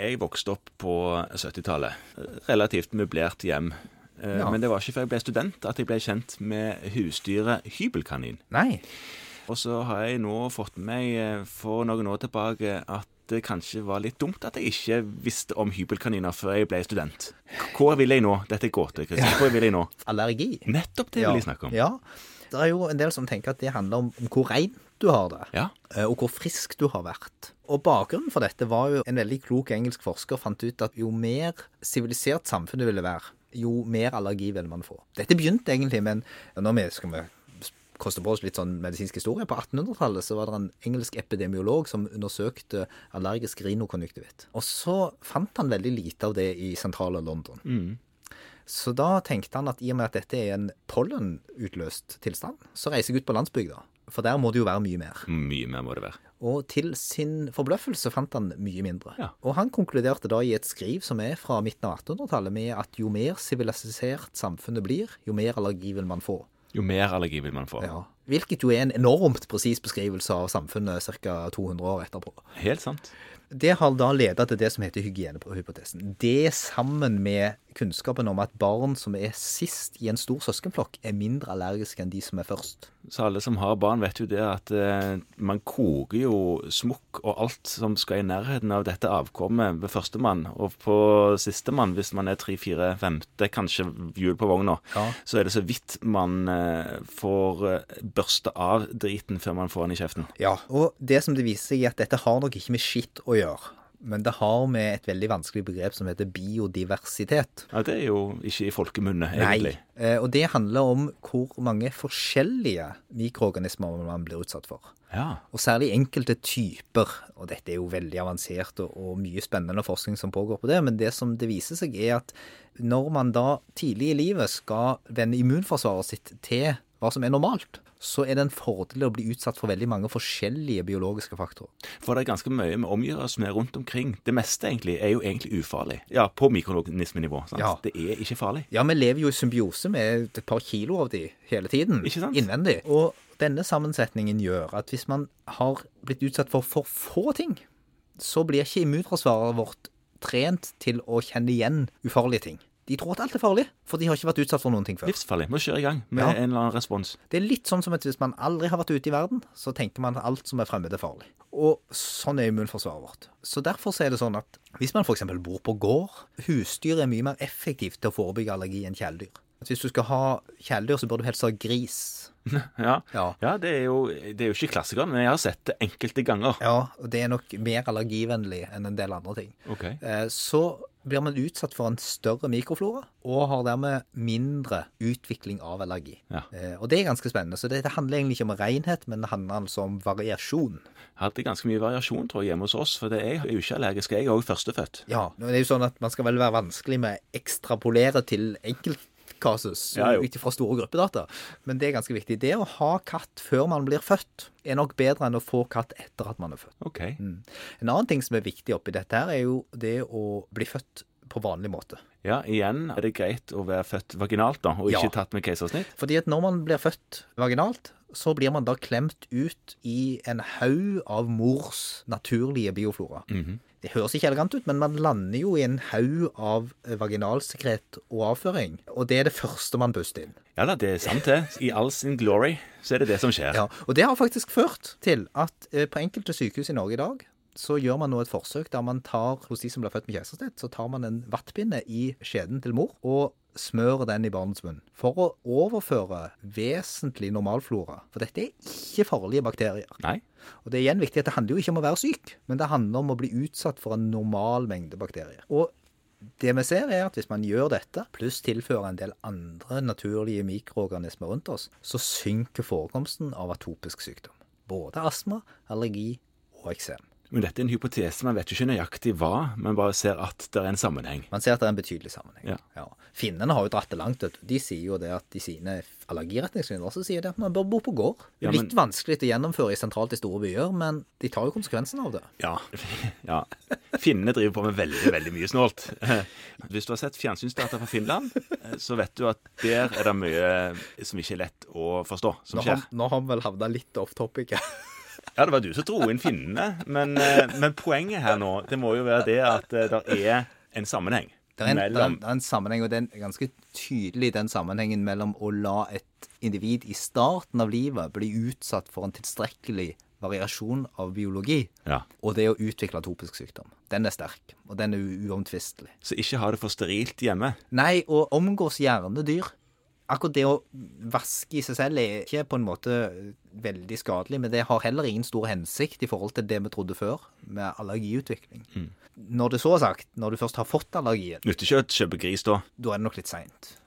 Jeg vokste opp på 70-tallet. Relativt møblert hjem. Eh, Ja. Men det var ikke før jeg ble student at jeg ble kjent med husdyret hybelkanin. Nei. Og så har jeg nå fått med meg eh, for noen år tilbake at det kanskje var litt dumt at jeg ikke visste om hybelkaniner før jeg ble student. Hvor vil jeg nå? Dette er gåte, Kristian. Hvor vil jeg nå? Allergi. Nettopp det vil jeg snakke om. Ja. Det er jo en del som tenker at det handler om, om hvor rein du har det, Ja. eh, og hvor frisk du har vært. Og bakgrunnen for dette var jo en veldig klok engelsk forsker fant ut at jo mer sivilisert samfunnet ville være, jo mer allergi ville man få. Dette begynte egentlig med en Nå skal vi koste på oss litt sånn medisinsk historie. På 1800-tallet så var det en engelsk epidemiolog som undersøkte allergisk rinokonjunktivitt. Og så fant han veldig lite av det i sentrale London. Så da tenkte han at i og med at dette er en pollenutløst tilstand, så reiser jeg ut på landsbygda. For der må det jo være mye mer. Mye mer må det være. Og til sin forbløffelse fant han mye mindre. Ja. Og han konkluderte da i et skriv som er fra midten av 1800-tallet med at jo mer sivilisert samfunnet blir, jo mer allergi vil man få. Jo mer allergi vil man få. Ja. Hvilket jo er en enormt presis beskrivelse av samfunnet ca. 200 år etterpå. Helt sant. Det har da leda til det som heter hygienehypotesen. Det sammen med kunnskapen om at barn som er sist i en stor søskenflokk, er mindre allergiske enn de som er først. Så alle som har barn, vet jo det at eh, man koker jo smokk og alt som skal i nærheten av dette avkommet ved førstemann. Og på sistemann, hvis man er tre, fire, femte, kanskje hjul på vogna, Ja. så er det så vidt man eh, får eh, børste av driten før man får den i kjeften. Ja. Og det som det viser seg, er at dette har nok ikke med skitt å gjøre. Men det har med et veldig vanskelig begrep som heter biodiversitet. Ja, det er jo ikke i folkemunne, Nei. egentlig. Eh, Og det handler om hvor mange forskjellige mikroorganismer man blir utsatt for. Ja. Og særlig enkelte typer. Og dette er jo veldig avansert og, og mye spennende forskning som pågår på det, men det som det viser seg, er at når man da tidlig i livet skal vende immunforsvaret sitt til hva som er normalt, så er det en fordel å bli utsatt for veldig mange forskjellige biologiske faktorer. For det er ganske mye vi omgir oss med rundt omkring. Det meste egentlig er jo egentlig ufarlig. Ja, på mikronismenivå. sant? Ja. Det er ikke farlig. Ja, vi lever jo i symbiose med et par kilo av de hele tiden. Ikke sant? Innvendig. Og denne sammensetningen gjør at hvis man har blitt utsatt for for få ting, så blir ikke immunforsvaret vårt trent til å kjenne igjen ufarlige ting. De tror at alt er farlig, for de har ikke vært utsatt for noen ting før. Livsfarlig. Må kjøre i gang med Ja. en eller annen respons. Det er litt sånn som at hvis man aldri har vært ute i verden, så tenker man at alt som er fremmed, er farlig. Og sånn er immunforsvaret vårt. Så derfor så er det sånn at hvis man f.eks. bor på gård, husdyr er mye mer effektivt til å forebygge allergi enn kjæledyr. At Hvis du skal ha kjæledyr, så bør du helst ha gris. Ja, Ja. ja det, er jo, det er jo ikke klassikeren, men jeg har sett det enkelte ganger. Ja, og det er nok mer allergivennlig enn en del andre ting. Ok. Eh, Så blir man utsatt for en større mikroflora, og har dermed mindre utvikling av allergi. Ja. Eh, Og det er ganske spennende. Så det det handler egentlig ikke om renhet, men det handler altså om variasjon. Hadde ganske mye variasjon tror jeg, hjemme hos oss, for det er jeg er jo ikke allergisk. Jeg er òg førstefødt. Ja, men det er jo sånn at man skal vel være vanskelig med å ekstrapolere til enkeltkasus Ja, jo. ut ifra store gruppedata, men det er ganske viktig. Det å ha katt før man blir født, er nok bedre enn å få katt etter at man er født. Ok. En annen ting som er viktig oppi dette her, er jo det å bli født på vanlig måte. Ja, igjen er det greit å være født vaginalt, da, og Ja. ikke tatt med keisersnitt. Fordi at når man blir født vaginalt, så blir man da klemt ut i en haug av mors naturlige bioflora. Det høres ikke elegant ut, men man lander jo i en haug av eh, vaginalsekret og avføring. Og det er det første man puster inn. Ja da, det er sant det. I all sin glory så er det det som skjer. Ja, og det har faktisk ført til at eh, på enkelte sykehus i Norge i dag, så gjør man nå et forsøk der man tar, hos de som blir født med keisersnitt, så tar man en vattpinne i skjeden til mor og smører den i barnets munn for å overføre vesentlig normalflora. For dette er ikke farlige bakterier. Nei? Og det er igjen viktig at det handler jo ikke om å være syk, men det handler om å bli utsatt for en normal mengde bakterier. Og det vi ser er at hvis man gjør dette, pluss tilfører en del andre naturlige mikroorganismer rundt oss, så synker forekomsten av atopisk sykdom. Både astma, allergi og eksem. Men dette er en hypotese. Man vet jo ikke nøyaktig hva, man bare ser at det er en sammenheng. Man ser at det er en betydelig sammenheng. Ja. Finnene har jo dratt det langt. vet du. De sier jo det at i sine allergiretningslinjer så sier de at man bør bo på gård. Ja, men- Litt vanskelig å gjennomføre i sentralt i store byer, men de tar jo konsekvensen av det. Ja. ja. Finnene driver på med veldig veldig mye snålt. Eh, Hvis du har sett fjernsynsdata fra Finland, eh, så vet du at der er det mye som ikke er lett å forstå, som Nå har, skjer. nå har vi vel havna litt off topic her. Ja, det var du som dro inn finnene. Men, eh, men poenget her nå, det må jo være det at det er en sammenheng Det er, en, det, er en, mellom det er en sammenheng, og det er en ganske tydelig den sammenhengen mellom å la et individ i starten av livet bli utsatt for en tilstrekkelig variasjon av biologi, Ja. og det å utvikle atopisk sykdom. Den er sterk, og den er u- uomtvistelig. Så ikke ha det for sterilt hjemme. Nei, og omgås gjerne dyr. Akkurat det å vaske i seg selv er ikke på en måte veldig skadelig, men det har heller ingen stor hensikt i forhold til det vi trodde før, med allergiutvikling. Mm. Når det så er sagt, når du først har fått allergien, Nytter ikke å kjøpe gris da. da er det nok litt seint.